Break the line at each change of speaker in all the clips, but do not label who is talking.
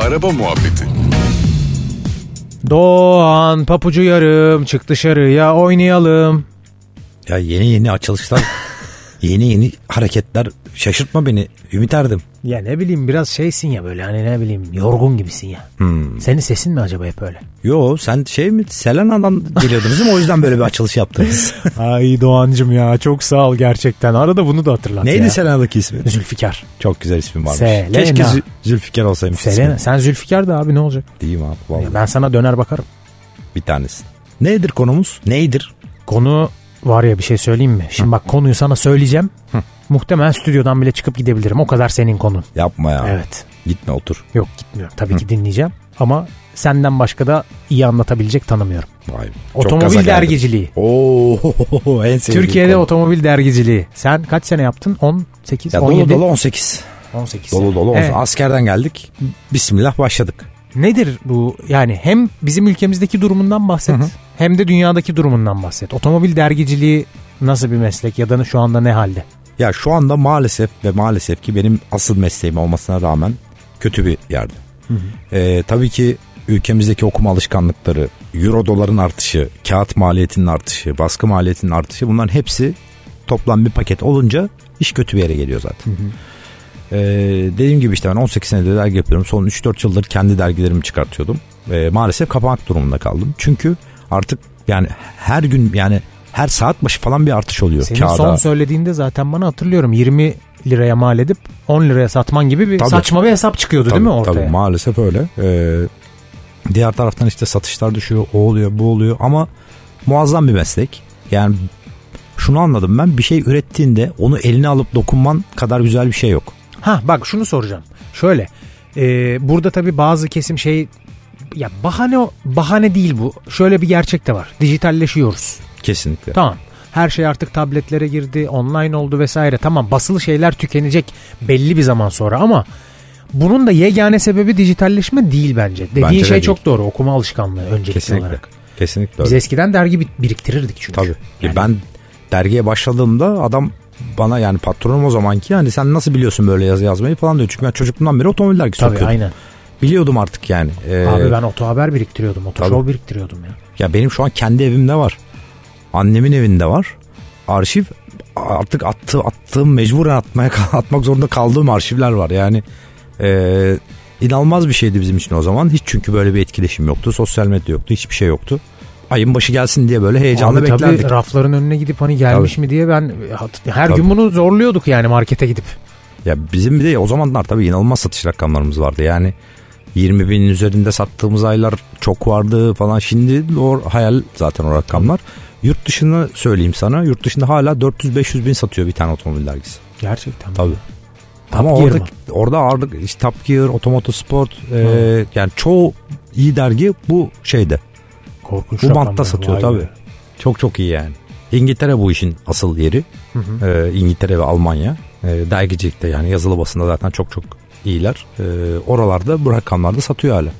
Araba muhabbeti.
Doğan papucu yarım çık dışarıya oynayalım.
Ya yeni yeni açılışlar, yeni yeni hareketler şaşırtma beni. Ümit Erdem.
Ya ne bileyim biraz şeysin ya böyle hani ne bileyim yorgun gibisin ya. Senin sesin mi acaba hep öyle?
Yo sen şey mi Selena'dan geliyordunuz değil mi? O yüzden böyle bir açılış yaptınız.
Ay Doğancım ya çok sağ ol gerçekten. Arada bunu da hatırlat
Neydi
ya.
Selena'daki ismi?
Zülfikar.
Çok güzel ismi varmış.
Selena.
Keşke Zü- Zülfikar olsaymış
Selena.
ismi.
Sen Zülfikar da abi ne olacak?
Değil mi abi? Vallahi
Ya ben sana döner bakarım.
bir tanesi. Nedir konumuz? Neydir?
Konu var ya bir şey söyleyeyim mi? Şimdi bak konuyu sana söyleyeceğim. Muhtemelen stüdyodan bile çıkıp gidebilirim. O kadar senin konun.
Yapma ya.
Evet.
Gitme otur.
Yok gitmiyorum. Tabii ki dinleyeceğim. Ama senden başka da iyi anlatabilecek tanımıyorum.
Vay. be. Çok gaza
Otomobil
geldim.
dergiciliği.
Oo, en sevdiğim
Türkiye'de
konu.
otomobil dergiciliği. Sen kaç sene yaptın? 18,
Ya
17,
dolu dolu 18.
18.
Dolu dolu 18.
Evet.
Askerden geldik. Bismillah başladık.
Nedir bu? Yani hem bizim ülkemizdeki durumundan bahset hem de dünyadaki durumundan bahset. Otomobil dergiciliği nasıl bir meslek ya da şu anda ne halde?
Ya şu anda maalesef ve maalesef ki benim asıl mesleğim olmasına rağmen kötü bir yerde. Ee, tabii ki ülkemizdeki okuma alışkanlıkları, euro doların artışı, kağıt maliyetinin artışı, baskı maliyetinin artışı bunların hepsi toplam bir paket olunca iş kötü bir yere geliyor zaten. Ee, dediğim gibi işte ben 18 senedir dergi yapıyorum. Son 3-4 yıldır kendi dergilerimi çıkartıyordum. Ee, maalesef kapanmak durumunda kaldım. Çünkü artık yani her gün yani her saat başı falan bir artış oluyor.
Senin
kağıda.
son söylediğinde zaten bana hatırlıyorum 20 liraya mal edip 10 liraya satman gibi bir
Tabii.
saçma bir hesap çıkıyordu
Tabii,
değil mi ortaya?
Tabii maalesef öyle. Ee, diğer taraftan işte satışlar düşüyor, o oluyor, bu oluyor ama muazzam bir meslek. Yani şunu anladım ben bir şey ürettiğinde onu eline alıp dokunman kadar güzel bir şey yok.
Ha bak şunu soracağım. Şöyle e, burada tabii bazı kesim şey ya bahane bahane değil bu. Şöyle bir gerçek de var. Dijitalleşiyoruz.
Kesinlikle.
Tamam. Her şey artık tabletlere girdi, online oldu vesaire. Tamam basılı şeyler tükenecek belli bir zaman sonra ama bunun da yegane sebebi dijitalleşme değil bence. Dediğin
Bence de
şey
değil.
çok doğru. Okuma alışkanlığı öncelikli
Kesinlikle.
olarak.
Kesinlikle
Biz
öyle.
eskiden dergi bi- biriktirirdik çünkü.
Tabii.
Yani
Ben dergiye başladığımda adam bana yani patronum o zamanki hani sen nasıl biliyorsun böyle yazı yazmayı falan diyor. Çünkü ben çocukluğumdan beri otomobil dergisi
Tabii
okuyordum.
aynen.
Biliyordum artık yani. Ee,
Abi ben oto haber biriktiriyordum, oto
Tabii.
show biriktiriyordum ya.
Ya benim şu an kendi evimde var. Annemin evinde var. Arşiv artık attı, attığım mecburen atmaya atmak zorunda kaldığım arşivler var. Yani eee, inanılmaz bir şeydi bizim için o zaman. Hiç çünkü böyle bir etkileşim yoktu. Sosyal medya yoktu. Hiçbir şey yoktu. Ayın başı gelsin diye böyle heyecanla
Abi
beklerdik.
tabii rafların önüne gidip hani gelmiş mi diye ben her
Tabii.
gün bunu zorluyorduk yani markete gidip.
Ya bizim bir de o zamanlar tabii inanılmaz satış rakamlarımız vardı. Yani 20 binin üzerinde sattığımız aylar çok vardı falan. Şimdi o hayal zaten o rakamlar. Yurt dışını söyleyeyim sana. Yurt dışında hala 400-500 bin satıyor bir tane otomobil dergisi.
Gerçekten.
Tabii.
Top
Ama
Gear
orada,
mı?
orada ağırlık işte Top Gear, Otomotosport e, yani çoğu iyi dergi bu şeyde.
Korkunç
Bu
rakamlar.
bantta satıyor
Vay
tabii.
be.
Çok çok iyi yani. İngiltere bu işin asıl yeri. Ee, İngiltere ve Almanya. Ee, dergicilikte yani yazılı basında zaten çok çok iyiler. Ee, oralarda bu rakamlarda satıyor hala.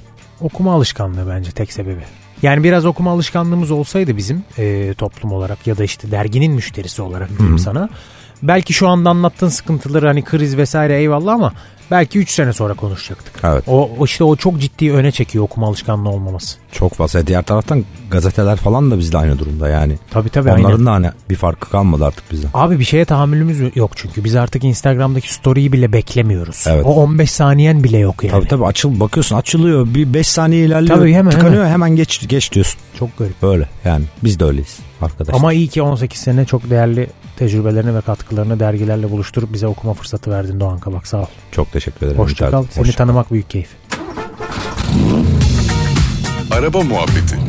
Okuma alışkanlığı bence tek sebebi. Yani biraz okuma alışkanlığımız olsaydı bizim e, toplum olarak ya da işte derginin müşterisi olarak diyeyim sana. Belki şu anda anlattığın sıkıntıları hani kriz vesaire eyvallah ama belki 3 sene sonra konuşacaktık.
Evet.
O o işte o çok ciddi öne çekiyor okuma alışkanlığı olmaması.
Çok fazla. Diğer taraftan gazeteler falan da bizde aynı durumda yani.
Tabii tabii
Onların
aynen.
da hani bir farkı kalmadı artık bizden.
Abi bir şeye tahammülümüz yok çünkü biz artık Instagram'daki story'yi bile beklemiyoruz.
Evet.
O 15 saniyen bile yok yani.
Tabii tabii açıl bakıyorsun açılıyor bir 5 saniye ilerliyor.
Tabii, hemen,
tıkanıyor hemen. geç geç diyorsun.
Çok garip.
Böyle yani biz de öyleyiz arkadaşlar.
Ama iyi ki 18 sene çok değerli tecrübelerini ve katkılarını dergilerle buluşturup bize okuma fırsatı verdin Doğan Kabak sağ ol.
çok teşekkür ederim.
Hoşça
Ümit
kal.
abi.
Seni
Hoşça kal.
tanımak büyük keyif.
Araba muhabbeti.